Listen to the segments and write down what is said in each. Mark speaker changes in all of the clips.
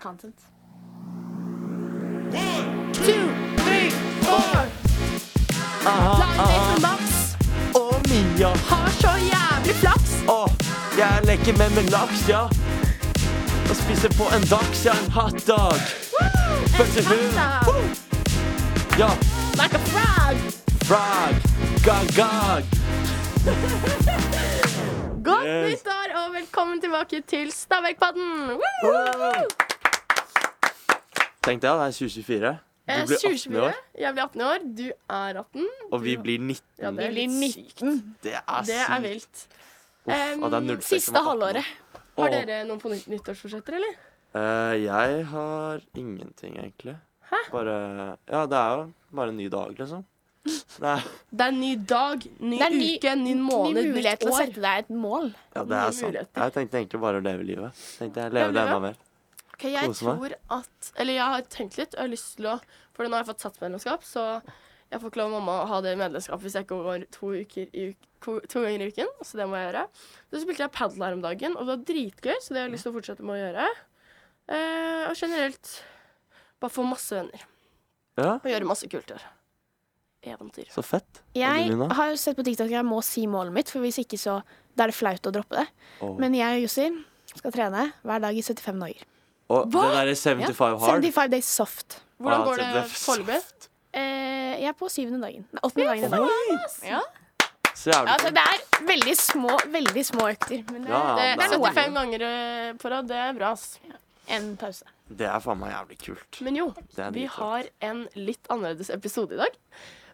Speaker 1: content.
Speaker 2: Å, Mia.
Speaker 1: Har så jævlig flaps!
Speaker 2: Å, jeg leker med min laks, ja. Og spiser på en dags, ja. En hotdog. Første hund. Woo! Ja.
Speaker 1: Like a frog!
Speaker 2: Frog. Gag-gag.
Speaker 1: Godt
Speaker 2: Yes.
Speaker 1: nyttår og velkommen tilbake til Stabækpodden! Woo!
Speaker 2: Tenk deg, det er 2024. Du
Speaker 1: Eh,
Speaker 2: blir 18
Speaker 1: 2024.
Speaker 2: år,
Speaker 1: Jeg blir 18 år, du er 18.
Speaker 2: og vi blir 19.
Speaker 1: Ja, det er
Speaker 3: blir
Speaker 1: litt sykt.
Speaker 3: 19.
Speaker 2: Det er
Speaker 1: Det er
Speaker 2: sykt.
Speaker 1: vilt.
Speaker 2: Uff, og det er
Speaker 1: Em,
Speaker 2: 06 som
Speaker 1: siste
Speaker 2: er 18 år.
Speaker 1: halvåret. Har
Speaker 2: Åh.
Speaker 1: dere noen på nytt- nyttårsforsetter, eller?
Speaker 2: Eh, jeg har ingenting, egentlig. Hæ? Bare Ja, det er jo bare en ny dag, liksom. Nei,
Speaker 1: Det er en ny dag, ny,
Speaker 3: Det er ny-
Speaker 1: uke, ny måned,
Speaker 3: Ny mulighet
Speaker 1: nytt
Speaker 3: til å
Speaker 1: år.
Speaker 3: sette deg et mål.
Speaker 2: ja, det
Speaker 1: Nye
Speaker 2: er sant.
Speaker 1: muligheter.
Speaker 2: Jeg tenkte egentlig bare å leve livet. Tenkte jeg Leve det
Speaker 1: Leve
Speaker 2: enda mer.
Speaker 1: Ok, jeg
Speaker 2: Kose meg.
Speaker 1: tror at Eller jeg har tenkt litt. Jeg har lyst til å For nå har jeg fått satsmedlemskap, så jeg får ikke lov av mamma å ha det medlemskapet hvis jeg ikke går to, uker i uk to, to ganger i uken. Så det må jeg gjøre. Så spilte jeg padel her om dagen, og det var dritgøy, så det har jeg lyst til å fortsette med å gjøre. Eh, og generelt bare få masse venner
Speaker 2: Ja,
Speaker 1: og gjøre masse kult i år. Eventyr.
Speaker 2: så fett.
Speaker 3: Jeg
Speaker 2: Adelina?
Speaker 3: har jo sett på TikTok at jeg må si målet mitt, for hvis ikke så da er det flaut å droppe det.
Speaker 2: Åh.
Speaker 3: Men jeg og Jussi skal trene hver dag i 75 dager.
Speaker 2: Og det derre 75 hard.
Speaker 3: 75 days soft.
Speaker 1: Hvordan
Speaker 2: Ja,
Speaker 1: går
Speaker 2: Ah, det-
Speaker 1: det
Speaker 2: det er for
Speaker 1: foreløpig?
Speaker 3: Eh, jeg er på syvende dagen. Nei, åttende dagen i dag.
Speaker 2: Oi!
Speaker 3: Ja.
Speaker 2: Så jævlig
Speaker 3: Altså,
Speaker 2: fett.
Speaker 3: det er veldig små, veldig små økter. Men det
Speaker 2: Ja, ja,
Speaker 3: er
Speaker 1: Det
Speaker 2: det er-
Speaker 1: 75 ganger eh, på rad, det er bra, ass.
Speaker 3: en pause.
Speaker 2: Det er faen meg jævlig kult.
Speaker 1: Men jo,
Speaker 2: Det er
Speaker 1: vi
Speaker 2: dritkult.
Speaker 1: har en litt annerledes episode i dag.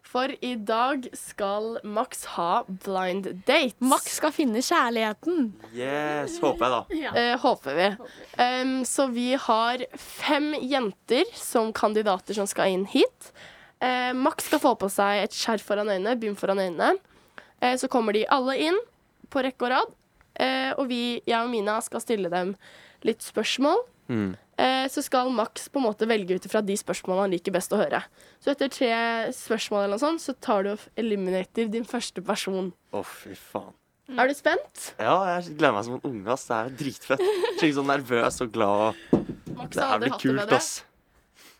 Speaker 1: For i dag skal Max ha blind dates.
Speaker 3: Max skal finne kjærligheten.
Speaker 2: Yes, håper jeg, da.
Speaker 1: Eh, håper vi. Em, så vi har fem jenter som kandidater som skal inn hit. Eh, Max skal få på seg et skjerf foran øynene, bym foran øynene. Eh, så kommer de alle inn på rekke og rad. Eh, og vi, jeg og Mina, skal stille dem litt spørsmål.
Speaker 2: Mm.
Speaker 1: Eh, så skal Max på en måte velge ut ifra de spørsmålene han liker best å høre. Så etter tre spørsmål eller noe sånt, så tar du og eliminater din første person.
Speaker 2: Å, fy faen.
Speaker 1: Er du spent?
Speaker 2: Ja, jeg gleder meg som en unge, ass. Det er dritfett. Skikkelig sånn nervøs og glad. og-
Speaker 1: Max
Speaker 2: Det
Speaker 1: har
Speaker 2: er
Speaker 1: aldri
Speaker 2: vel
Speaker 1: hatt det
Speaker 2: kult,
Speaker 1: bedre.
Speaker 2: ass.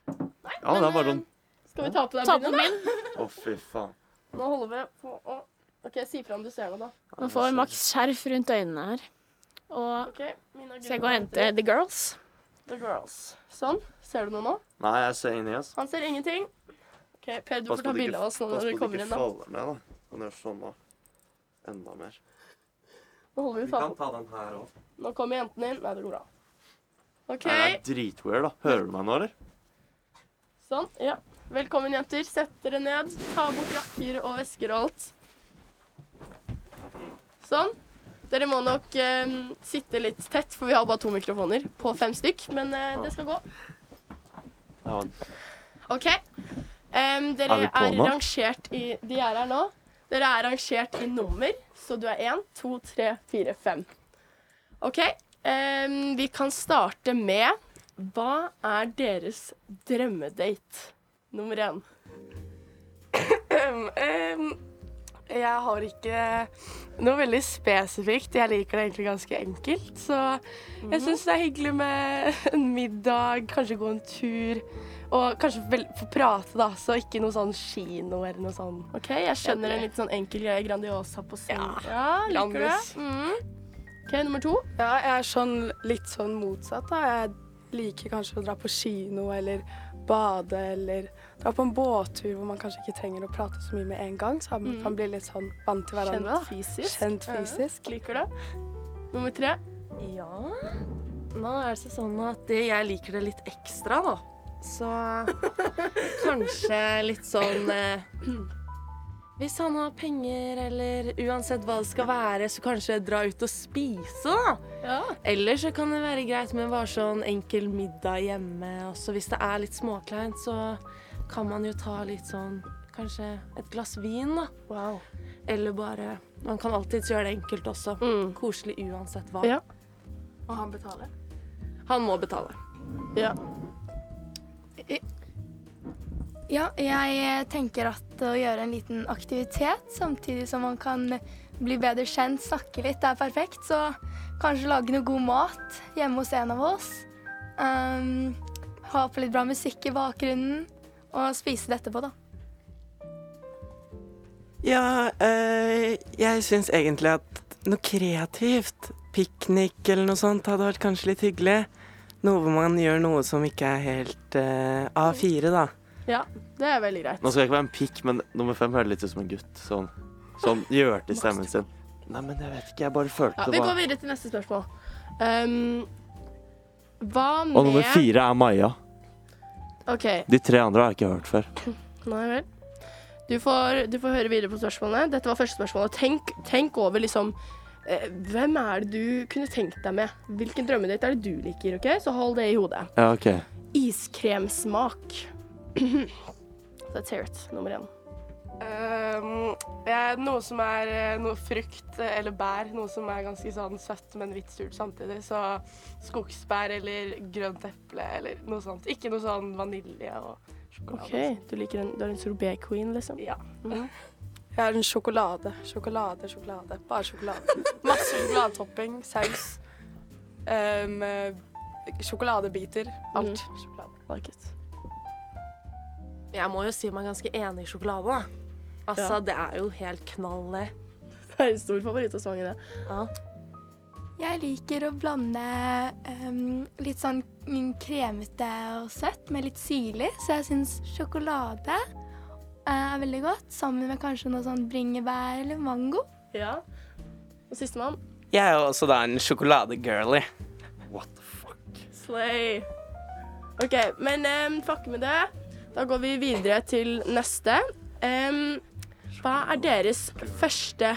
Speaker 2: Ja, det
Speaker 1: men, eh,
Speaker 2: er bare sånn
Speaker 1: Skal vi ta på deg
Speaker 3: Ta på
Speaker 1: brynet,
Speaker 3: min.
Speaker 2: Å, fy faen.
Speaker 1: da? Nå holder vi på å OK, si fra om du ser noe, da.
Speaker 3: Nå får Max skjerf rundt øynene her. Og
Speaker 1: Ok, Mina,
Speaker 3: skal jeg gå og hente The Girls.
Speaker 1: The girls. Sånn. Ser du noe nå?
Speaker 2: Nei, jeg ser ingenting, ass.
Speaker 1: Han ser ingenting. OK, Per, du
Speaker 2: Pass
Speaker 1: får
Speaker 2: på
Speaker 1: ta
Speaker 2: at ikke-
Speaker 1: bilde av oss nå
Speaker 2: pass
Speaker 1: når
Speaker 2: på
Speaker 1: du
Speaker 2: at
Speaker 1: kommer
Speaker 2: ikke
Speaker 1: inn. da.
Speaker 2: faller ned, da. Han gjør sånn, da. Enda mer.
Speaker 1: Nå holder vi
Speaker 2: Vi kan
Speaker 1: faen.
Speaker 2: ta den her òg.
Speaker 1: Nå kommer jentene inn. Nei, det går bra. OK.
Speaker 2: Det er dritweird, da. Hører du meg nå, eller?
Speaker 1: Sånn, ja. Velkommen, jenter. Sett dere ned. Ta bort jakker og vesker og alt. Sånn. Dere må nok eh, sitte litt tett, for vi har bare to mikrofoner på fem stykk. Men eh, det skal gå.
Speaker 2: Ja,
Speaker 1: OK. Em, dere
Speaker 2: Er vi
Speaker 1: er,
Speaker 2: på nå?
Speaker 1: rangert i De er her nå. Dere er rangert i nummer, så du er én, to, tre, fire, fem. OK. em, vi kan starte med Hva er deres drømmedate? Nummer én.
Speaker 4: Jeg har ikke noe veldig spesifikt. Jeg liker det egentlig ganske enkelt. Så
Speaker 1: Mhm.
Speaker 4: jeg syns det er hyggelig med en middag, kanskje gå en tur. Og kanskje vel, få prate, da. Så ikke noe sånn kino eller noe sånn.
Speaker 1: OK, jeg skjønner en litt sånn enkel greie. Grandiosa på scenen. Ja, liker du det?
Speaker 4: Grandis.
Speaker 1: Mm. OK, nummer to.
Speaker 5: Ja, jeg er sånn, litt sånn motsatt. da. Jeg liker kanskje å dra på kino eller bade eller dra på en båttur hvor man kanskje ikke trenger å prate så mye med en gang, så man kan bli litt sånn vant til
Speaker 1: Kjent
Speaker 5: hverandre. da.
Speaker 1: fysisk.
Speaker 5: Kjent fysisk.
Speaker 1: Liker det. Nummer tre.
Speaker 4: Ja. Nå er det sånn at jeg liker det litt ekstra, da. Så kanskje litt sånn Hvis han har penger, eller uansett hva det skal være, så kanskje dra ut og spise, da.
Speaker 1: Ja.
Speaker 4: Eller så kan det være greit med bare sånn enkel middag hjemme. Også hvis det er litt småkleint, så kan man jo ta litt sånn Kanskje et glass vin, da.
Speaker 1: Wow.
Speaker 4: Eller bare Man kan alltids gjøre det enkelt også.
Speaker 1: Mm.
Speaker 4: Koselig uansett hva.
Speaker 1: Ja.
Speaker 5: Og han betaler.
Speaker 4: Han må betale.
Speaker 1: Ja.
Speaker 6: Ja, jeg eh, tenker at å gjøre en liten aktivitet, samtidig som man kan eh, bli bedre kjent, snakke litt, det er perfekt. Så kanskje lage noe god mat hjemme hos en av oss. ehm, ha på litt bra musikk i bakgrunnen, og spise det etterpå, da.
Speaker 7: Ja, eh, jeg syns egentlig at noe kreativt, piknik eller noe sånt, hadde vært kanskje litt hyggelig. Noe hvor man gjør noe som ikke er helt eh, A4, da.
Speaker 1: Det er veldig greit.
Speaker 2: Nå skal jeg ikke være en pikk, men nummer fem hører litt ut som en gutt. Sånn, sånn gjør til stemmen sin. Nei, men jeg vet ikke, jeg bare følte
Speaker 1: Ja,
Speaker 2: det
Speaker 1: vi går
Speaker 2: var
Speaker 1: videre til neste spørsmål. Ehm, hva med
Speaker 2: Og nummer fire er Maja.
Speaker 1: OK.
Speaker 2: De tre andre har jeg ikke hørt før.
Speaker 1: Nei vel. Du får, du får høre videre på spørsmålene. Dette var første spørsmål. Tenk, tenk over liksom eh, Hvem er det du kunne tenkt deg med? Hvilken drømmedate er det du liker? ok? Så hold det i hodet.
Speaker 2: Ja, OK.
Speaker 1: Iskremsmak. Let's hear it. Nummer én.
Speaker 5: Ehm, jeg- noe som er eh, noe frukt eh, eller bær. Noe som er ganske sånn søtt, men litt surt samtidig. Så skogsbær eller grønt eple eller noe sånt. Ikke noe sånn vanilje og sjokolade.
Speaker 1: OK. Du, liker en, du er en sorbet-queen, liksom?
Speaker 5: Ja.
Speaker 1: Mhm.
Speaker 5: Jeg er en sjokolade. Sjokolade, sjokolade. Bare sjokolade. Masse sjokoladetopping, saus. ehm, eh, sjokoladebiter. Alt. Sjokolade.
Speaker 1: Like it.
Speaker 4: Jeg må jo si meg ganske enig i sjokolade, da. Altså,
Speaker 1: Ja.
Speaker 4: det er jo helt knall, det.
Speaker 1: Det er en stor favoritt av sangen, det.
Speaker 6: Jeg liker å blande ehm, litt sånn kremete og søtt med litt syrlig, så jeg syns sjokolade eh, er veldig godt, sammen med kanskje noe sånn bringebær eller mango.
Speaker 1: Ja. Og sistemann.
Speaker 7: Jeg er jo også da en sjokoladegirlie.
Speaker 1: Slay. OK, men um, fuck med det. Da går vi videre til neste. Em, hva er deres første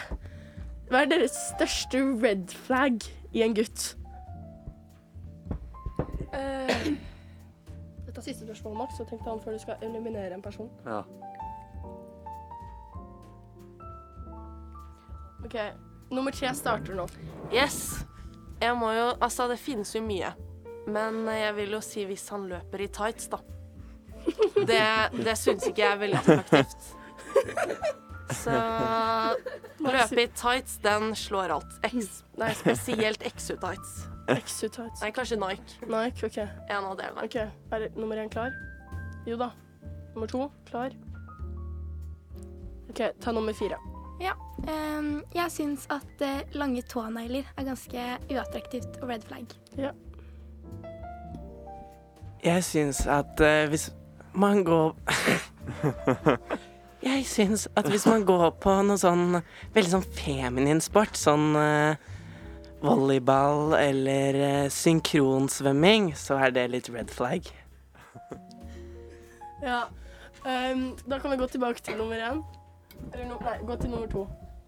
Speaker 1: Hva er deres største red flag i en gutt? Dette er siste spørsmål, Max. Så tenk deg om før du skal eliminere en person.
Speaker 2: Ja.
Speaker 1: OK. Nummer tre starter nå.
Speaker 4: Yes. Jeg må jo Altså, det finnes jo mye. Men jeg vil jo si hvis han løper i tights, da. Det, det syns ikke jeg er veldig attraktivt. Så løpe i tights, den slår alt. X, nei, spesielt XU-tights.
Speaker 1: Exutites.
Speaker 4: Nei, kanskje Nike.
Speaker 1: Nike, OK.
Speaker 4: En av delene.
Speaker 1: Ok, Er nummer én klar? Jo da. Nummer to klar. OK, ta nummer fire.
Speaker 6: Ehm, jeg syns at eh, lange tånegler er ganske uattraktivt og red flag.
Speaker 7: Jeg syns at eh, hvis man går Jeg syns at hvis man går på noe sånn veldig sånn feminin sport, sånn eh, volleyball eller eh, synkronsvømming, så er det litt red flag.
Speaker 1: Ja. ehm, da kan vi gå tilbake til nummer én. Eller no, nei, gå til nummer to.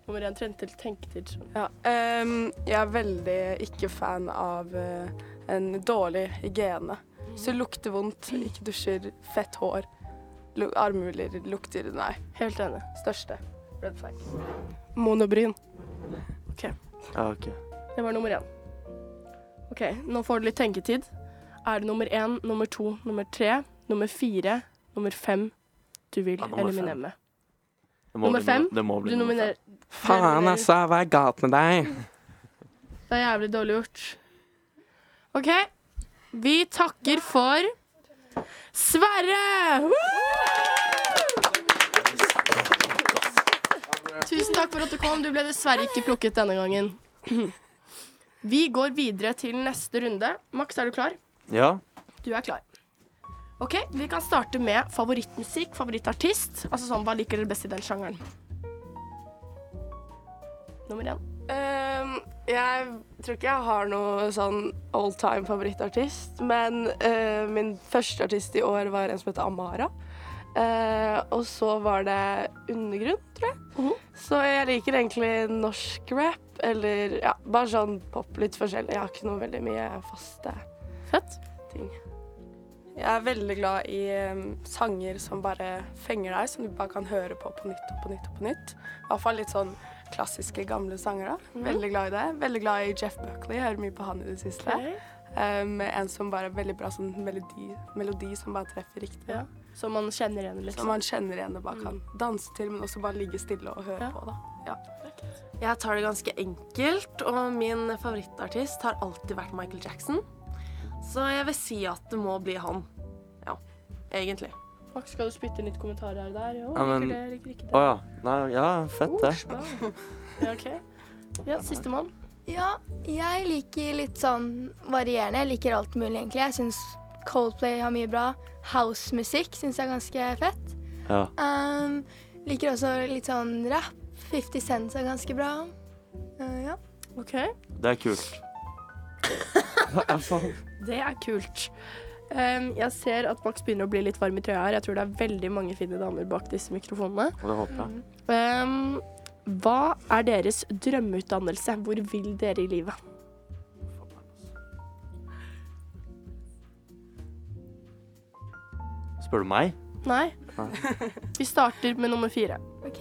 Speaker 1: Nummer én trent til tenketid.
Speaker 5: Ja, ehm, jeg er veldig ikke fan av eh, en dårlig hygiene. Hvis det lukter vondt, ikke dusjer, fett hår, lu armhuler, lukter Nei,
Speaker 1: Helt enig.
Speaker 5: største.
Speaker 1: Red flag.
Speaker 5: Monobryn.
Speaker 2: ja ok.
Speaker 1: Det var nummer én. OK, nå får du litt tenketid. Er det nummer én, nummer to, nummer tre, nummer fire, nummer fem du vil
Speaker 2: Ja, nummer fem.
Speaker 1: eliminere med?
Speaker 2: Det må
Speaker 1: Nummer
Speaker 2: bli
Speaker 1: fem?
Speaker 2: no- Det må bli
Speaker 1: Du
Speaker 2: nummer
Speaker 1: nominerer
Speaker 7: Faen, altså. Hva er galt med deg?
Speaker 1: Det er jævlig dårlig gjort. OK. Vi takker for Sverre! Woo! Tusen takk for at du kom. Du ble dessverre ikke plukket denne gangen. Vi går videre til neste runde. Max, er du klar?
Speaker 2: fem. Ja.
Speaker 1: Du er klar. OK, vi kan starte med favorittmusikk, favorittartist. Altså sånn, hva liker dere best i den sjangeren? Nummer én.
Speaker 5: Ehm, jeg tror ikke jeg har noe sånn all time favorittartist, men eh, min første artist i år var en som heter Amara. Eh, og så var det Undergrunn, tror jeg. Så jeg liker egentlig norsk rap, eller ja, bare sånn pop, litt forskjellig. Jeg har ikke noe veldig mye faste
Speaker 1: Fett.
Speaker 5: Jeg er veldig glad i em, sanger som bare fenger deg, som du bare kan høre på på nytt og på nytt og på nytt. I hvert fall litt sånn klassiske, gamle sanger. da. Veldig glad i det. Veldig glad i Jeff Buckley. Jeg hører mye på han i det siste.
Speaker 1: Ok.
Speaker 5: Em, en som bare er veldig bra sånn melodi, melodi som bare treffer riktig.
Speaker 1: Ja. Så man kjenner igjen,
Speaker 5: Så
Speaker 1: liksom.
Speaker 5: man kjenner igjen det bare kan danse til, men også bare ligge stille og høre
Speaker 1: Mm. Ja.
Speaker 5: på. da.
Speaker 4: Jeg tar det ganske enkelt, og min favorittartist har alltid vært Michael Jackson. Så jeg vil si at det må bli han. Ja, egentlig.
Speaker 1: Fuck, skal du spytte litt kommentarer der? Jo,
Speaker 2: Ja, men-
Speaker 1: liker det, liker ikke det.
Speaker 2: Å ja. Nei, ja, fett det.
Speaker 1: Wow. Ja, OK. Ja, sistemann.
Speaker 6: Ja, jeg liker litt sånn varierende. Jeg liker alt mulig, egentlig. Jeg syns Coldplay har mye bra. Housemusikk syns jeg er ganske fett.
Speaker 1: Oh.
Speaker 2: Ja.
Speaker 6: Um, liker også litt sånn rap. 50 Cent er ganske bra. Uh, ja.
Speaker 1: OK.
Speaker 2: Det er kult. Hva er faen?
Speaker 1: Det er kult. Ehm, jeg ser at Max begynner å bli litt varm i trøya her. Jeg tror det er veldig mange fine damer bak disse mikrofonene.
Speaker 2: Det håper jeg.
Speaker 1: Ehm, hva er deres drømmeutdannelse? Hvor vil dere i livet?
Speaker 2: Spør du meg?
Speaker 1: Nei.
Speaker 2: Nei.
Speaker 1: Vi starter med nummer fire.
Speaker 6: OK.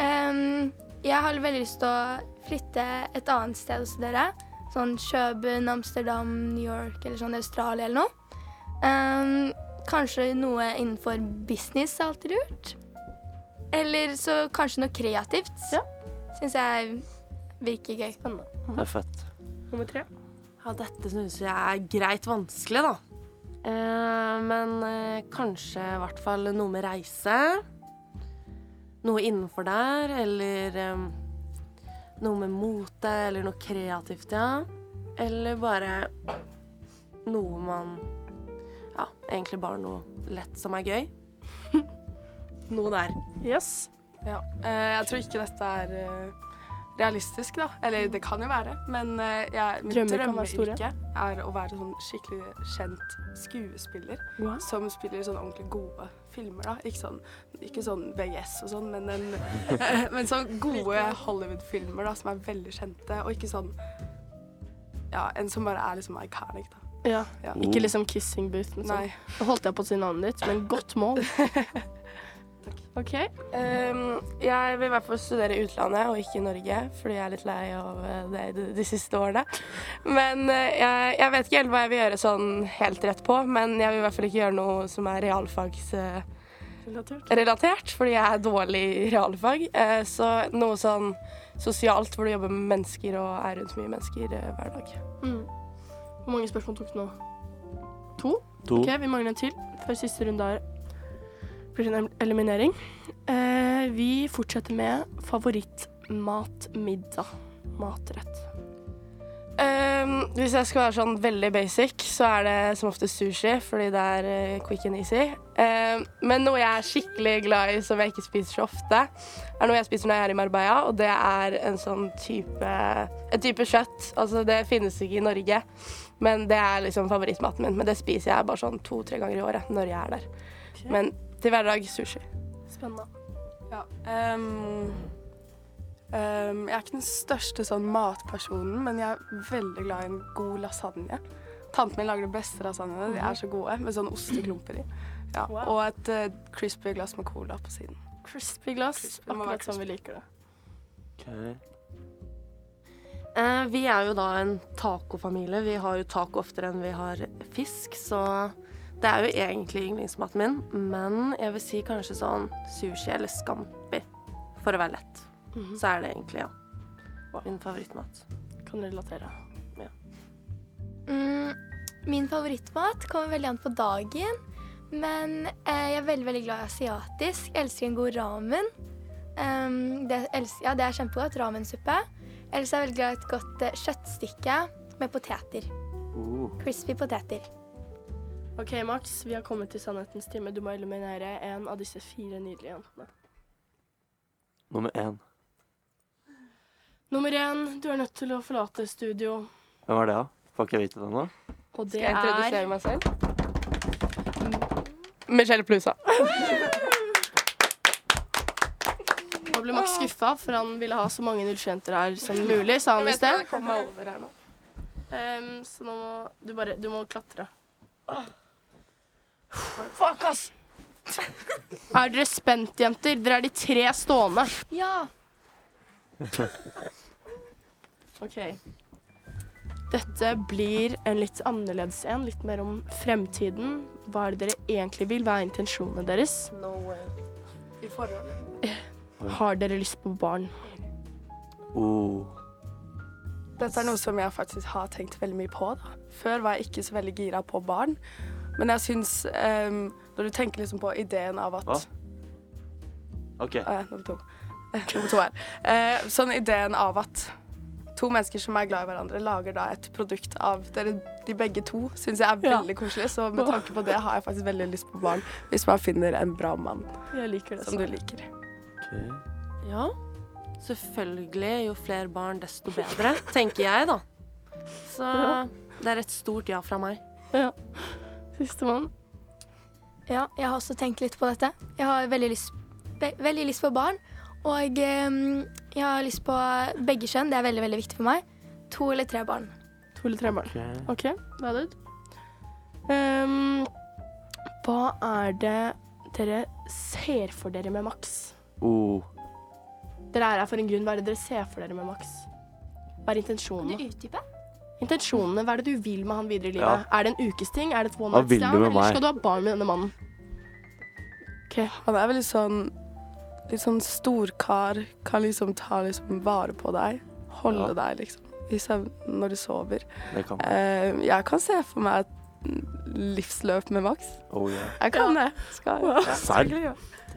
Speaker 6: Um, jeg har veldig lyst til å flytte et annet sted hos dere. Sånn Kjøben, Amsterdam, New York eller sånn Australia eller noe. Um, kanskje noe innenfor business er alltid lurt. Eller så kanskje noe kreativt.
Speaker 1: Ja.
Speaker 6: Syns jeg virker gøy.
Speaker 1: Spennende.
Speaker 2: Det er fett.
Speaker 1: Nummer tre.
Speaker 4: Ja, dette syns jeg er greit vanskelig, da. Eh, men eh, kanskje i hvert fall noe med reise. Noe innenfor der, eller eh, noe med mote, eller noe kreativt, ja. Eller bare noe man Ja, egentlig bare noe lett som er gøy. Noe der.
Speaker 1: Yes.
Speaker 5: Ja. Eh, jeg tror ikke dette er eh, realistisk, da. Eller det kan jo være, men eh, jeg, mitt
Speaker 1: Mm. Drømmer kan være store.
Speaker 5: drømmeyrke er å være sånn skikkelig kjent skuespiller
Speaker 1: Wow.
Speaker 5: som spiller sånn ordentlig gode filmer, da. Ikke sånn, ikke sånn VGS og sånn, men, en, men sånn gode Hollywood-filmer da, som er veldig kjente, og ikke sånn Ja, en som bare er liksom iconic, da.
Speaker 1: Ja.
Speaker 5: Ja.
Speaker 1: Ikke
Speaker 2: Oh.
Speaker 1: liksom kissing booth. men
Speaker 5: Nei.
Speaker 1: sånn. Nå holdt jeg på å si navnet ditt, men godt mål. OK.
Speaker 8: Ehm, jeg vil i hvert fall studere i utlandet og ikke i Norge, fordi jeg er litt lei av eh, det de, de siste årene. Men eh, jeg, jeg vet ikke helt hva jeg vil gjøre sånn helt rett på, men jeg vil i hvert fall ikke gjøre noe som er realfagsrelatert, fordi jeg er dårlig i realfag. Eh, så noe sånn sosialt hvor du jobber med mennesker og er rundt mye mennesker eh, hver dag.
Speaker 1: Mm. Hvor mange spørsmål tok du nå? To?
Speaker 2: To.
Speaker 1: Ok, vi mangler en til før siste runde her. Blir det en eliminering. Eh, vi fortsetter med favorittmatmiddag. Matrett.
Speaker 8: Ehm, hvis jeg skal være sånn veldig basic, så er det som ofte sushi, fordi det er eh, quick and easy. Ehm, men noe jeg er skikkelig glad i, som jeg ikke spiser så ofte, er noe jeg spiser når jeg er i Marbella, og det er en sånn type, et type kjøtt. Altså, det finnes ikke i Norge, men det er liksom favorittmaten min. Men det spiser jeg bare sånn to-tre ganger i året når jeg er der. Men til hverdag sushi.
Speaker 1: Spennende.
Speaker 5: Ja. ehm, ehm, jeg er ikke den største sånn matpersonen, men jeg er veldig glad i en god lasagne. Tanten min lager de beste lasagnene. De er så gode, med sånne osteklumper i. Ja.
Speaker 1: Wow.
Speaker 5: Og et eh, crispy glass med cola på siden.
Speaker 1: Crispy glass.
Speaker 5: Crispy, det må være
Speaker 1: Akkurat som vi liker det.
Speaker 2: Ok.
Speaker 4: Eh, vi er jo da en tacofamilie. Vi har jo taco oftere enn vi har fisk, så det er jo egentlig yndlingsmaten min. Men jeg vil si kanskje sånn sushi eller scampi, for å være lett.
Speaker 8: Mhm.
Speaker 4: Så er det egentlig, ja. Min favorittmat.
Speaker 1: Kan relatere.
Speaker 6: Mm, min favorittmat kommer veldig an på dagen. Men eh, jeg er veldig veldig glad i asiatisk. Jeg elsker en god ramen. Em, det, els- ja, det er kjempegodt. Ramensuppe. Ellers er jeg veldig glad i et godt eh, kjøttstykke med poteter.
Speaker 2: Uh.
Speaker 6: Crispy poteter.
Speaker 1: OK, Max. Vi har kommet til sannhetens time. Du må eliminere en av disse fire nydelige jentene.
Speaker 2: Nummer én.
Speaker 1: Nummer én, du er nødt til å forlate studio.
Speaker 2: Hvem er det, da? Får ikke jeg vite det nå?
Speaker 1: Og det
Speaker 8: Skal jeg
Speaker 1: er
Speaker 8: introdusere meg selv? Michelle Plusa.
Speaker 1: Nå ble Max skuffa, for han ville ha så mange nullsjenter her som mulig, sa han i sted.
Speaker 8: kom meg over her nå.
Speaker 1: Ehm, så nå må du bare Du må klatre.
Speaker 8: Fuck, ass!
Speaker 1: Er dere spent, jenter? Dere er de tre stående.
Speaker 6: Ja.
Speaker 1: OK. Dette blir en litt annerledes en. Litt mer om fremtiden. Hva er det dere egentlig vil? Hva er intensjonene deres?
Speaker 5: I forhold.
Speaker 2: Uh.
Speaker 1: Har dere lyst på barn?
Speaker 2: Oh.
Speaker 5: Dette er noe som jeg faktisk har tenkt veldig mye på. Da. Før var jeg ikke så veldig gira på barn. Men jeg syns ehm, Når du tenker liksom på ideen av at
Speaker 2: Hva? OK.
Speaker 5: Eh, nummer to. Eh, nummer to her. Eh, sånn ideen av at to mennesker som er glad i hverandre, lager da et produkt av dere de begge to, syns jeg er veldig koselig. Så med tanke på det har jeg faktisk veldig lyst på barn, hvis man finner en bra mann
Speaker 1: Jeg liker det
Speaker 5: som
Speaker 1: sånn.
Speaker 5: du liker.
Speaker 2: ok.
Speaker 4: Ja, selvfølgelig. Jo flere barn, desto bedre, tenker jeg, da. Så det er et stort ja fra meg.
Speaker 1: Sistemann.
Speaker 6: Ja, jeg har også tenkt litt på dette. Jeg har veldig lyst, ve veldig lyst på barn. Og ehm, jeg har lyst på begge kjønn. Det er veldig, veldig viktig for meg. To eller tre barn.
Speaker 1: To eller tre barn. OK, valid. Ehm, hva er det dere ser for dere med Max?
Speaker 2: Oh.
Speaker 1: Dere er her for en grunn. Hva er det dere ser for dere med Max? Hva er intensjonene?
Speaker 6: utdype?
Speaker 1: Intensjonene, Hva er det du vil med han videre i livet? Er det en ukesting? Er det et one
Speaker 2: Hva
Speaker 1: night
Speaker 2: vil du
Speaker 1: stand?
Speaker 2: med
Speaker 1: Eller
Speaker 2: meg?
Speaker 1: skal du ha barn med denne mannen?
Speaker 5: Han er veldig sånn litt sånn storkar. Kan liksom ta liksom vare på deg. Holde
Speaker 2: Ja.
Speaker 5: deg liksom i søvn når du sover.
Speaker 2: Det kan
Speaker 5: Eh, jeg kan se for meg et livsløp med Max.
Speaker 2: Oh, yeah.
Speaker 5: Jeg kan det. Skal jeg.
Speaker 2: Serr?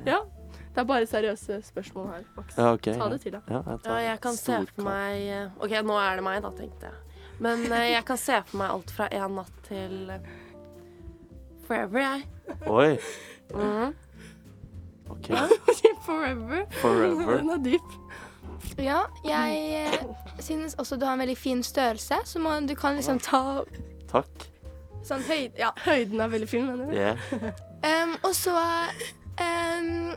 Speaker 1: Det er bare seriøse spørsmål her, Max.
Speaker 2: Ja, OK.
Speaker 1: Ta det til deg.
Speaker 2: Ja, jeg
Speaker 4: Ja,
Speaker 2: tar
Speaker 4: jeg kan se
Speaker 2: stor
Speaker 4: for meg eh, OK, nå er det meg, da, tenkte jeg. Men eh, jeg kan se for meg alt fra én natt til eh, forever, jeg.
Speaker 2: kar. Oi.
Speaker 4: Mhm.
Speaker 2: OK.
Speaker 6: Forever.
Speaker 2: Forever.
Speaker 1: Den er dyp.
Speaker 6: Ja, jeg eh, synes også du har en veldig fin størrelse, så man, du kan liksom ta
Speaker 2: Takk.
Speaker 6: sånn høyde Ja.
Speaker 1: Høyden er veldig fin. mener du?
Speaker 2: Yeah.
Speaker 6: Ehm, og så ehm,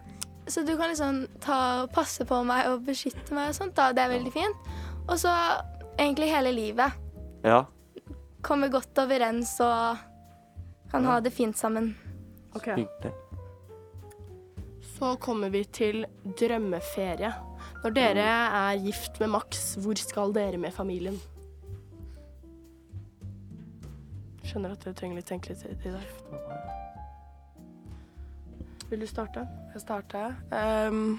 Speaker 6: Så du kan liksom ta og passe på meg og beskytte meg og sånt, da. Det er veldig fint. Og så egentlig hele livet.
Speaker 2: Ja.
Speaker 6: Komme godt overens og kan ha det fint sammen.
Speaker 1: Ok.
Speaker 2: Hyggelig.
Speaker 1: Så kommer vi til drømmeferie. Når dere er gift med Max, hvor skal dere med familien? Skjønner at dere trenger litt tenke litt i det. Vil du starte?
Speaker 5: Jeg starter. Ehm,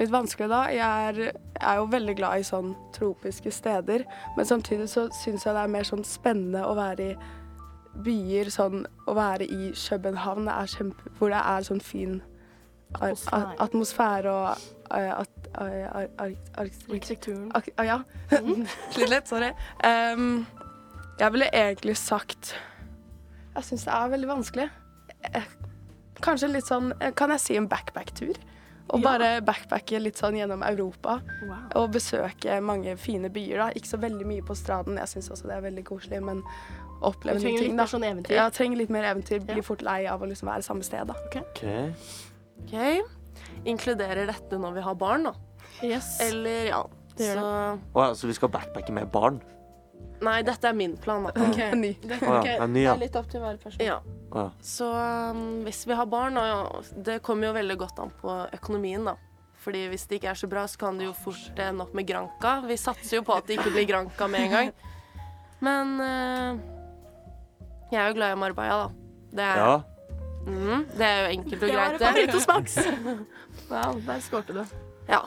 Speaker 5: litt vanskelig, da. Jeg er, jeg er jo veldig glad i sånn tropiske steder, men samtidig så syns jeg det er mer sånn spennende å være i byer, sånn å være i København, det er kjempe, hvor det er sånn fin ar
Speaker 1: Atmosfære.
Speaker 5: a- atmosfære og eh, at, ar ar ar
Speaker 1: Arkitekturen. Mm.
Speaker 5: Ak ah, ja. Slitt litt, sorry. Ehm, jeg ville egentlig sagt Jeg syns det er veldig vanskelig. Eh, Kanskje litt sånn eh, Kan jeg si en backpack-tur? Og
Speaker 1: Ja.
Speaker 5: bare backpacke litt sånn gjennom Europa.
Speaker 1: Wow.
Speaker 5: Og besøke mange fine byer, da. Ikke så veldig mye på straten, jeg syns også det er veldig koselig, men
Speaker 1: Du
Speaker 5: oppleve nye
Speaker 1: trenger
Speaker 5: ting,
Speaker 1: litt
Speaker 5: da.
Speaker 1: mer sånn eventyr.
Speaker 5: Ja, trenger litt mer eventyr.
Speaker 1: Ja.
Speaker 5: Blir fort lei av å liksom være samme sted, da.
Speaker 2: OK.
Speaker 4: OK. Inkluderer dette når vi har barn, da?
Speaker 1: Yes.
Speaker 4: Eller ja.
Speaker 1: Det gjør
Speaker 4: Så
Speaker 2: Å ja, så vi skal backpacke med barn?
Speaker 4: Nei, dette er min plan, da.
Speaker 5: Ny.
Speaker 2: Å ja. Det er ny, ja.
Speaker 1: litt opp til hver person.
Speaker 4: Ja.
Speaker 2: Å ja.
Speaker 4: Så um, hvis vi har barn, og ja, det kommer jo veldig godt an på økonomien, da. Fordi hvis det ikke er så bra, så kan det jo fort ende opp med Granka. Vi satser jo på at det ikke blir Granka med en gang. Men eh, jeg er jo glad i Marbella, da. Det er,
Speaker 2: ja.
Speaker 4: mm, det er jo enkelt og greit.
Speaker 1: Favoritt hos Max. Wow, der skårte du.
Speaker 4: Ja.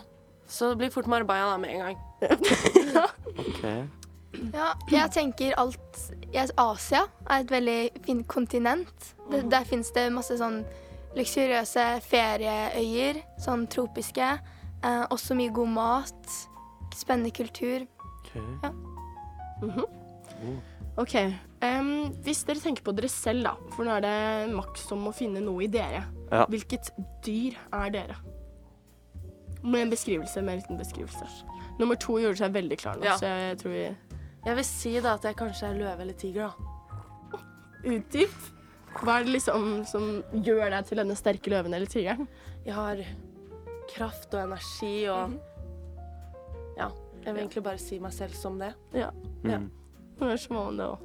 Speaker 4: Så det blir fort Marbella da, med en gang.
Speaker 2: OK.
Speaker 6: Ja, jeg tenker alt jeg, Asia er et veldig fint kontinent. Det, der finnes det masse sånn luksuriøse ferieøyer, sånn tropiske. Eh, også mye god mat, spennende kultur.
Speaker 2: ok.
Speaker 1: Mhm. OK. em, hvis dere tenker på dere selv, da, for nå er det Max som må finne noe i dere.
Speaker 2: Ja.
Speaker 1: Hvilket dyr er dere? Med en beskrivelse, med en liten beskrivelse. Nummer to gjorde seg veldig klar nå,
Speaker 4: Ja.
Speaker 1: så jeg tror vi
Speaker 4: Jeg vil si da at jeg kanskje er løve eller tiger, da.
Speaker 1: Utdyp. Hva er det liksom som gjør deg til denne sterke løven eller tigeren?
Speaker 4: Jeg har kraft og energi og Ja. Jeg vil egentlig bare si meg selv som det.
Speaker 2: Mm.
Speaker 4: Ja.
Speaker 1: Nå er så mange det også.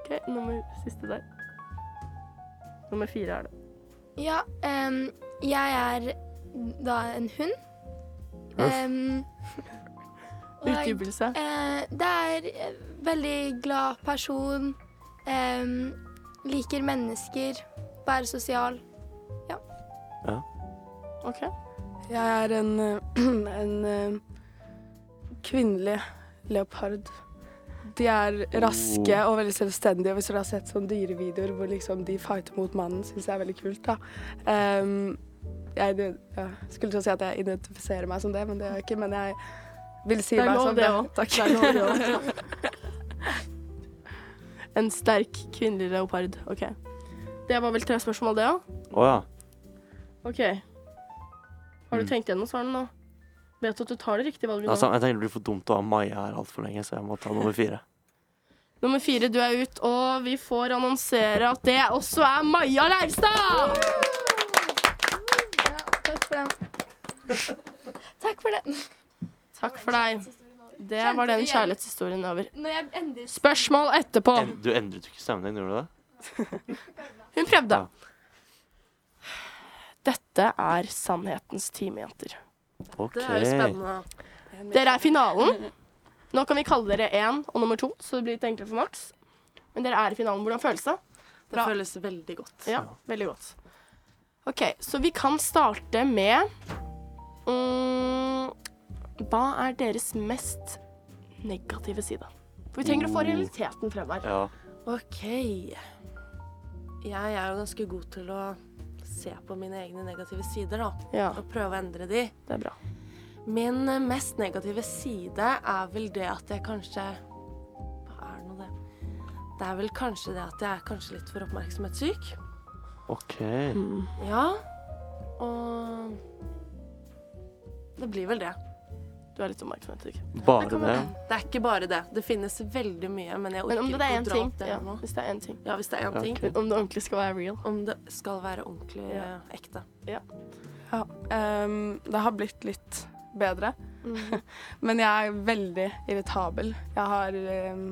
Speaker 1: OK, nummer siste der. Nummer fire er det.
Speaker 6: Ja, em, jeg er da en hund. Em, og-
Speaker 1: Utdypelse.
Speaker 6: Eh, det er eh, veldig glad person. em, liker mennesker. Være sosial.
Speaker 1: OK.
Speaker 5: Jeg er en, eh, en eh, kvinnelig leopard. De er raske og veldig selvstendige. Hvis dere har sett sånne dyrevideoer hvor liksom de fighter mot mannen, syns jeg er veldig kult. da. Ehm, jeg ide- ja, skulle til å si at jeg identifiserer meg som det, men det gjør jeg ikke. Men jeg vil si
Speaker 1: Det er
Speaker 5: meg
Speaker 1: lov,
Speaker 5: som
Speaker 1: det
Speaker 5: det.
Speaker 1: også.
Speaker 5: Takk.
Speaker 1: Det er lov, det også. En sterk kvinnelig leopard. OK. Det var vel tre spørsmål, det òg?
Speaker 2: Å ja.
Speaker 1: OK.
Speaker 2: Mm.
Speaker 1: Har du tenkt gjennom svarene nå? Vet du at du tar det riktige valget nå?
Speaker 2: Altså, jeg tenker det blir for dumt å ha Maja her altfor lenge, så jeg må ta nummer fire.
Speaker 1: Nummer fire, du er ut, og vi får annonsere at det også er Maja Leivstad!
Speaker 6: Takk for den. Takk for den.
Speaker 1: Takk for deg. Det var den kjærlighetshistorien over.
Speaker 6: Når jeg endrer
Speaker 1: Spørsmål etterpå.
Speaker 2: En, du endret jo ikke stemmen din, gjorde du det?
Speaker 1: Hun prøvde.
Speaker 2: Ja.
Speaker 1: Dette er sannhetens time, jenter.
Speaker 2: OK.
Speaker 4: Det er jo spennende.
Speaker 1: Dere er finalen. Nå kan vi kalle dere én og nummer to, så det blir litt enklere for Max. Men dere er i finalen. Hvordan føles det?
Speaker 4: Det føles veldig godt.
Speaker 1: Ja, veldig godt. OK, så vi kan starte med mm, Hva er deres mest negative side? For vi trenger å få realiteten frem her.
Speaker 2: Ja.
Speaker 4: OK. Jeg er jo ganske god til å se på mine egne negative sider, da.
Speaker 1: Ja,
Speaker 4: Og prøve å endre de.
Speaker 1: det er bra.
Speaker 4: Min eh, mest negative side er vel det at jeg kanskje Hva er nå det? Det er vel kanskje det at jeg er kanskje litt for oppmerksomhetssyk.
Speaker 2: OK.
Speaker 4: Ja. Og Det blir vel det.
Speaker 1: Du er litt oppmerksomhet. ikke?
Speaker 2: Bare det?
Speaker 4: Det er ikke bare det. Det finnes veldig mye, men jeg
Speaker 1: Men
Speaker 4: orker
Speaker 1: om det
Speaker 4: ikke
Speaker 1: er
Speaker 4: å
Speaker 1: én
Speaker 4: dra
Speaker 1: ting,
Speaker 4: opp det
Speaker 1: ja,
Speaker 4: her nå.
Speaker 1: hvis det er én ting
Speaker 4: Ja, hvis det er én ting.
Speaker 2: Ok.
Speaker 1: Om det ordentlig skal være real.
Speaker 4: Om det skal være ordentlig
Speaker 1: Ja.
Speaker 4: eh, ekte.
Speaker 5: Ja, ehm, det har blitt litt bedre. Mm. Men jeg er veldig irritabel. Jeg har ehm,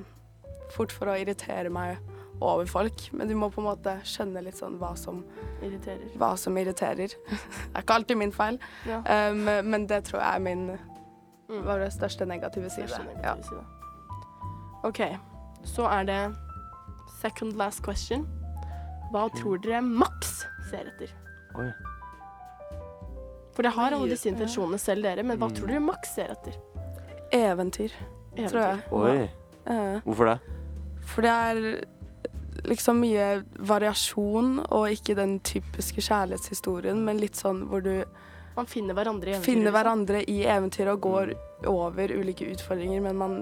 Speaker 5: fort for å irritere meg over folk. Men du må på en måte skjønne litt sånn hva som,
Speaker 1: Irriterer.
Speaker 5: hva som irriterer. det er ikke alltid min feil,
Speaker 1: Ja.
Speaker 5: Ehm, men det tror jeg er min var Mm. det største negative side. Ja.
Speaker 1: Ja. OK, så er det second last question. Hva tror dere Max ser etter?
Speaker 2: Oi.
Speaker 1: For det har alle disse intensjonene selv, dere, men hva tror dere Max ser etter?
Speaker 5: Eventyr, tror jeg.
Speaker 2: Oi.
Speaker 5: Ja.
Speaker 2: Hvorfor det?
Speaker 5: For det er liksom mye variasjon, og ikke den typiske kjærlighetshistorien, men litt sånn hvor du
Speaker 1: Man finner hverandre i eventyret.
Speaker 5: finner
Speaker 1: liksom.
Speaker 5: hverandre i eventyret og går over ulike utfordringer, men man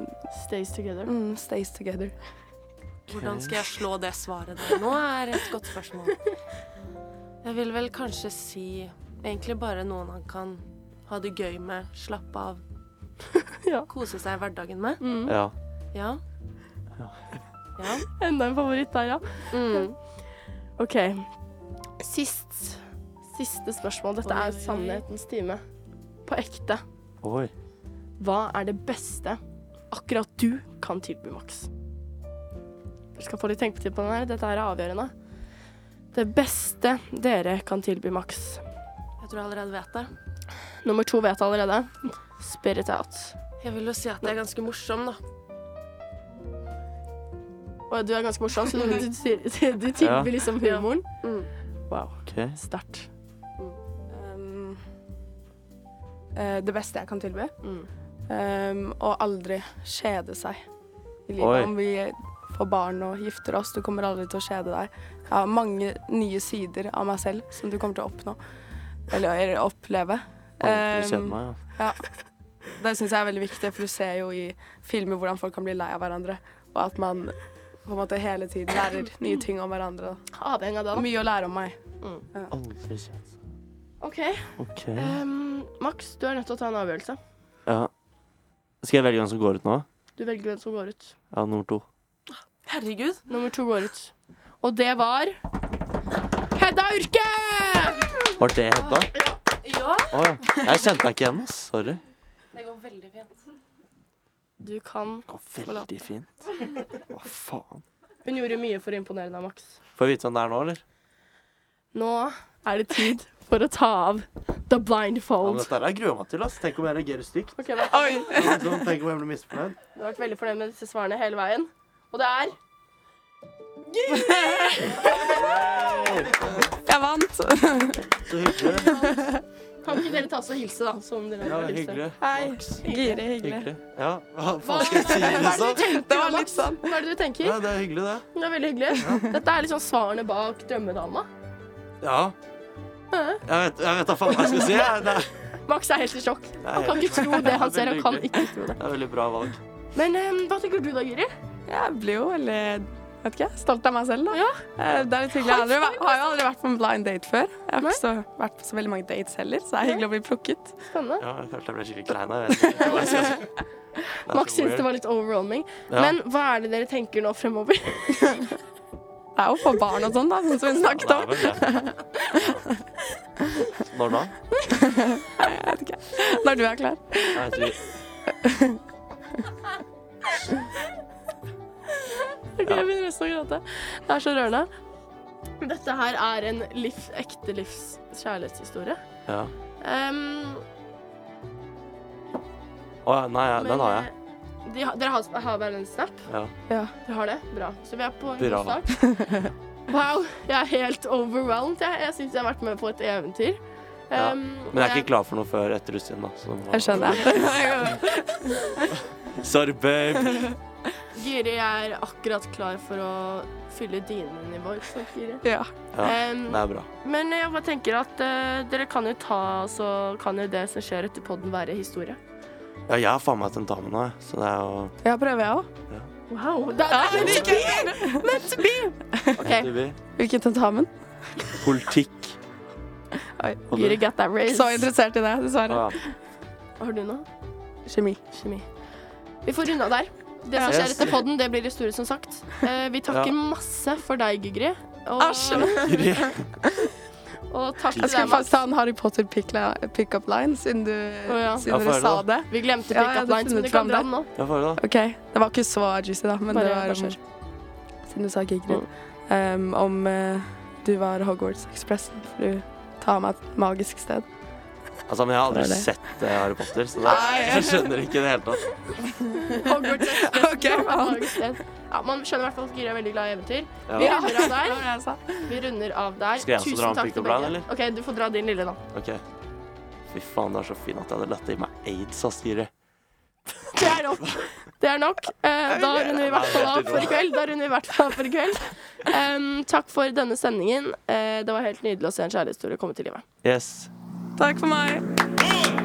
Speaker 1: Stays together.
Speaker 5: mm, stays together.
Speaker 4: Hvordan skal jeg slå det svaret der nå, er et godt spørsmål. Jeg vil vel kanskje si egentlig bare noen han kan ha det gøy med, slappe av,
Speaker 1: Ja. Mm.
Speaker 4: kose seg i hverdagen med.
Speaker 2: Ja.
Speaker 4: Ja. Ja.
Speaker 1: Enda en favoritt der, ja.
Speaker 4: Mm.
Speaker 1: OK. Sist, siste spørsmål. Dette
Speaker 4: Oi, oi,
Speaker 1: er
Speaker 4: oi.
Speaker 1: sannhetens time. På ekte.
Speaker 2: Oi.
Speaker 1: Hva er det beste akkurat du kan tilby Max? Dere skal få litt tenketid på den her. Dette her er avgjørende. Det beste dere kan tilby Max.
Speaker 4: Jeg tror jeg allerede vet det.
Speaker 1: Nummer to vet jeg allerede. Spirit out.
Speaker 4: Jeg vil jo si at jeg er ganske morsom, da.
Speaker 1: Og du er ganske morsom, så du, du, du, du tilbyr liksom humoren. Wow.
Speaker 2: OK.
Speaker 1: Sterkt.
Speaker 5: Um, eh, det beste jeg kan tilby.
Speaker 1: Mm.
Speaker 5: Um, og aldri kjede seg i
Speaker 2: Oi.
Speaker 5: livet. Om vi får barn og gifter oss, du kommer aldri til å kjede deg. Jeg har mange nye sider av meg selv som du kommer til å oppnå. Eller oppleve.
Speaker 2: Aldri kjede
Speaker 5: Um,
Speaker 2: meg, ja.
Speaker 4: Ehm,
Speaker 5: Det syns jeg er veldig viktig, for du ser jo i filmer hvordan folk kan bli lei av hverandre. Og at man på en måte hele tiden lærer nye ting om hverandre.
Speaker 1: Avhengig av det. da.
Speaker 5: Mye å lære om meg.
Speaker 2: Aldri kjede seg.
Speaker 1: OK.
Speaker 2: OK.
Speaker 1: ehm, Max, du er nødt til å ta en avgjørelse.
Speaker 2: Ja. Skal jeg velge hvem som går ut nå?
Speaker 1: Du velger hvem som går ut.
Speaker 2: Ja, nummer to.
Speaker 4: Herregud.
Speaker 1: Nummer to går ut. Og det var Hedda Urke!
Speaker 2: Var det Hedda?
Speaker 4: Ja.
Speaker 2: Å ja. Jeg kjente deg ikke igjen, ass. Sorry.
Speaker 4: Det går veldig fint.
Speaker 1: Du kan
Speaker 2: Det går veldig fint. Hva faen.
Speaker 1: Hun gjorde mye for å imponere deg, Max.
Speaker 2: Får jeg vite hvem det er nå, eller?
Speaker 1: Nå er det tid for å ta av the
Speaker 2: Ja, men
Speaker 1: blindfold.
Speaker 2: dette her gruer jeg meg til, ass. Tenk om jeg reagerer stygt.
Speaker 1: Ok, da.
Speaker 2: Sånn, tenk om jeg blir misfornøyd.
Speaker 1: Du har vært veldig fornøyd med disse svarene hele veien. Og det er
Speaker 5: Jeg vant!
Speaker 2: Så hyggelig.
Speaker 1: Kan ikke dere ta også hilse, da. Som dere
Speaker 2: Ja,
Speaker 1: vil hilse.
Speaker 2: hyggelig.
Speaker 1: Hei.
Speaker 4: Giri, hyggelig.
Speaker 2: Hyggelig. Ja, hva faen skal jeg si, liksom?
Speaker 1: Det var litt sånn. Hva er det du tenker?
Speaker 2: Ja, det er hyggelig, det.
Speaker 1: Det er veldig hyggelig. Dette er liksom svarene bak Drømmedama.
Speaker 2: Ja. Jeg vet, jeg vet da faen hva jeg skal si. jeg. Det er,
Speaker 1: Max er helt i sjokk.
Speaker 2: det
Speaker 1: Han
Speaker 2: er,
Speaker 1: kan ikke tro det han ser. Han kan
Speaker 2: Veldig hyggelig.
Speaker 1: ikke tro det.
Speaker 2: det er veldig bra valg.
Speaker 1: Men eh, hva tenker du da, Guri?
Speaker 5: Jeg blir jo veldig vet ikke, stolt av meg selv, da. Eh, Det er litt hyggelig. Jeg har aldri væ- har jo aldri vært på en blind date før. Jeg har ikke så, vært på så veldig mange dates heller, så det er hyggelig å bli plukket.
Speaker 1: Spennende.
Speaker 2: Ja, jeg følte jeg ble skikkelig klein. Jeg vet ikke hva jeg skal si. Det er så
Speaker 1: Max syns
Speaker 2: weird.
Speaker 1: det var litt overwhelming.
Speaker 2: Ja.
Speaker 1: Men hva er det dere tenker nå fremover?
Speaker 5: Det er jo for barn og sånn, da, sånn som hun snakket om.
Speaker 2: Ja, det er vel det. Når da?
Speaker 5: Når du er klar.
Speaker 2: Jeg vet ikke.
Speaker 1: Ok, jeg begynner nesten å gråte. Det er så rørende. Dette her er en liv, ekte livs kjærlighetshistorie.
Speaker 2: Ja.
Speaker 1: Um,
Speaker 2: Å ja, nei, ja, den har jeg.
Speaker 1: eh, De, har- dere har, har hver en snap?
Speaker 2: Ja.
Speaker 5: Ja.
Speaker 1: Dere har det? Bra. Så vi er på en
Speaker 2: Bra.
Speaker 1: god start. Wow, jeg er helt overwhelmed. Jeg, jeg syns jeg har vært med på et eventyr.
Speaker 2: Ja,
Speaker 1: Um,
Speaker 2: Men jeg er ikke klar for noe før etter russetiden, da. Så det må...
Speaker 5: eh, Jeg skjønner.
Speaker 2: Sorry, babe.
Speaker 1: Giri jeg er akkurat klar for å fylle dinene i vår. Så Giri.
Speaker 5: Ja.
Speaker 2: Ja.
Speaker 1: Um,
Speaker 2: Det er bra.
Speaker 1: men jeg bare tenker at eh, dere kan jo ta, så kan jo det som skjer etter podden være historie.
Speaker 2: Ja, jeg har faen meg tentamen nå, jeg. Så det er jo
Speaker 5: Ja, prøver jeg òg.
Speaker 1: Wow. Det, det, det,
Speaker 2: okay. NTB.
Speaker 5: Hvilken tentamen?
Speaker 2: Politikk.
Speaker 5: Oi.
Speaker 2: Og
Speaker 1: Giri
Speaker 2: du?
Speaker 1: got that raise.
Speaker 5: Så interessert i det, dessverre.
Speaker 2: Å, ja.
Speaker 1: Har du noe?
Speaker 5: Kjemi.
Speaker 1: Kjemi. Vi får runde av der. Det som skjer
Speaker 2: Yes.
Speaker 1: etter podden, det blir historie, som sagt. Eh, vi takker
Speaker 2: Ja.
Speaker 1: masse for deg, Gygri. Og,
Speaker 2: Guri.
Speaker 1: og takk til
Speaker 5: Jeg skulle
Speaker 1: deg, Max.
Speaker 5: faktisk ta en Harry Potter pick- pickup line, siden, du,
Speaker 1: Å, ja.
Speaker 5: siden
Speaker 2: Ja,
Speaker 5: dere
Speaker 2: for
Speaker 5: sa
Speaker 2: det
Speaker 5: det.
Speaker 1: Vi glemte
Speaker 5: Ja,
Speaker 1: pick-up
Speaker 5: jeg hadde
Speaker 1: lines, men
Speaker 5: funnet
Speaker 1: du kan
Speaker 5: fram
Speaker 1: dra
Speaker 5: det.
Speaker 1: den nå.
Speaker 2: Ja, får du da?
Speaker 5: OK. Det var ikke så juicy, da, men
Speaker 1: Bare-
Speaker 5: det var
Speaker 1: bare
Speaker 5: om,
Speaker 1: kjør. Mm.
Speaker 5: Siden du sa Gigri. Um, om eh, du var Hogwarts Express. For du tar meg et magisk sted.
Speaker 2: Altså, men jeg har aldri
Speaker 5: Det var det.
Speaker 2: sett eh, Harry Potter, så det, jeg skjønner ikke i det hele tatt.
Speaker 1: Hogwarts Express.
Speaker 5: OK, faen.
Speaker 1: Ja, man skjønner i hvert fall at Giri er veldig glad i eventyr. Vi
Speaker 2: Ja.
Speaker 1: runder av der.
Speaker 5: jeg sa.
Speaker 1: Vi runder av der.
Speaker 2: Skal jeg også dra en pick-up line, eller?
Speaker 1: OK, du får dra din lille, da.
Speaker 2: OK. Fy faen, det er så fint at jeg hadde latt i meg aids, ass, Guri.
Speaker 1: Det er nok. Det er nok. Eh, da runder vi i hvert fall av for i kveld. Da runder vi i hvert fall av for i kveld. Em, takk for denne sendingen. Eh, det var helt nydelig å se en kjærlighetshistorie komme til livet.
Speaker 2: Yes.
Speaker 5: Takk for meg.
Speaker 9: One,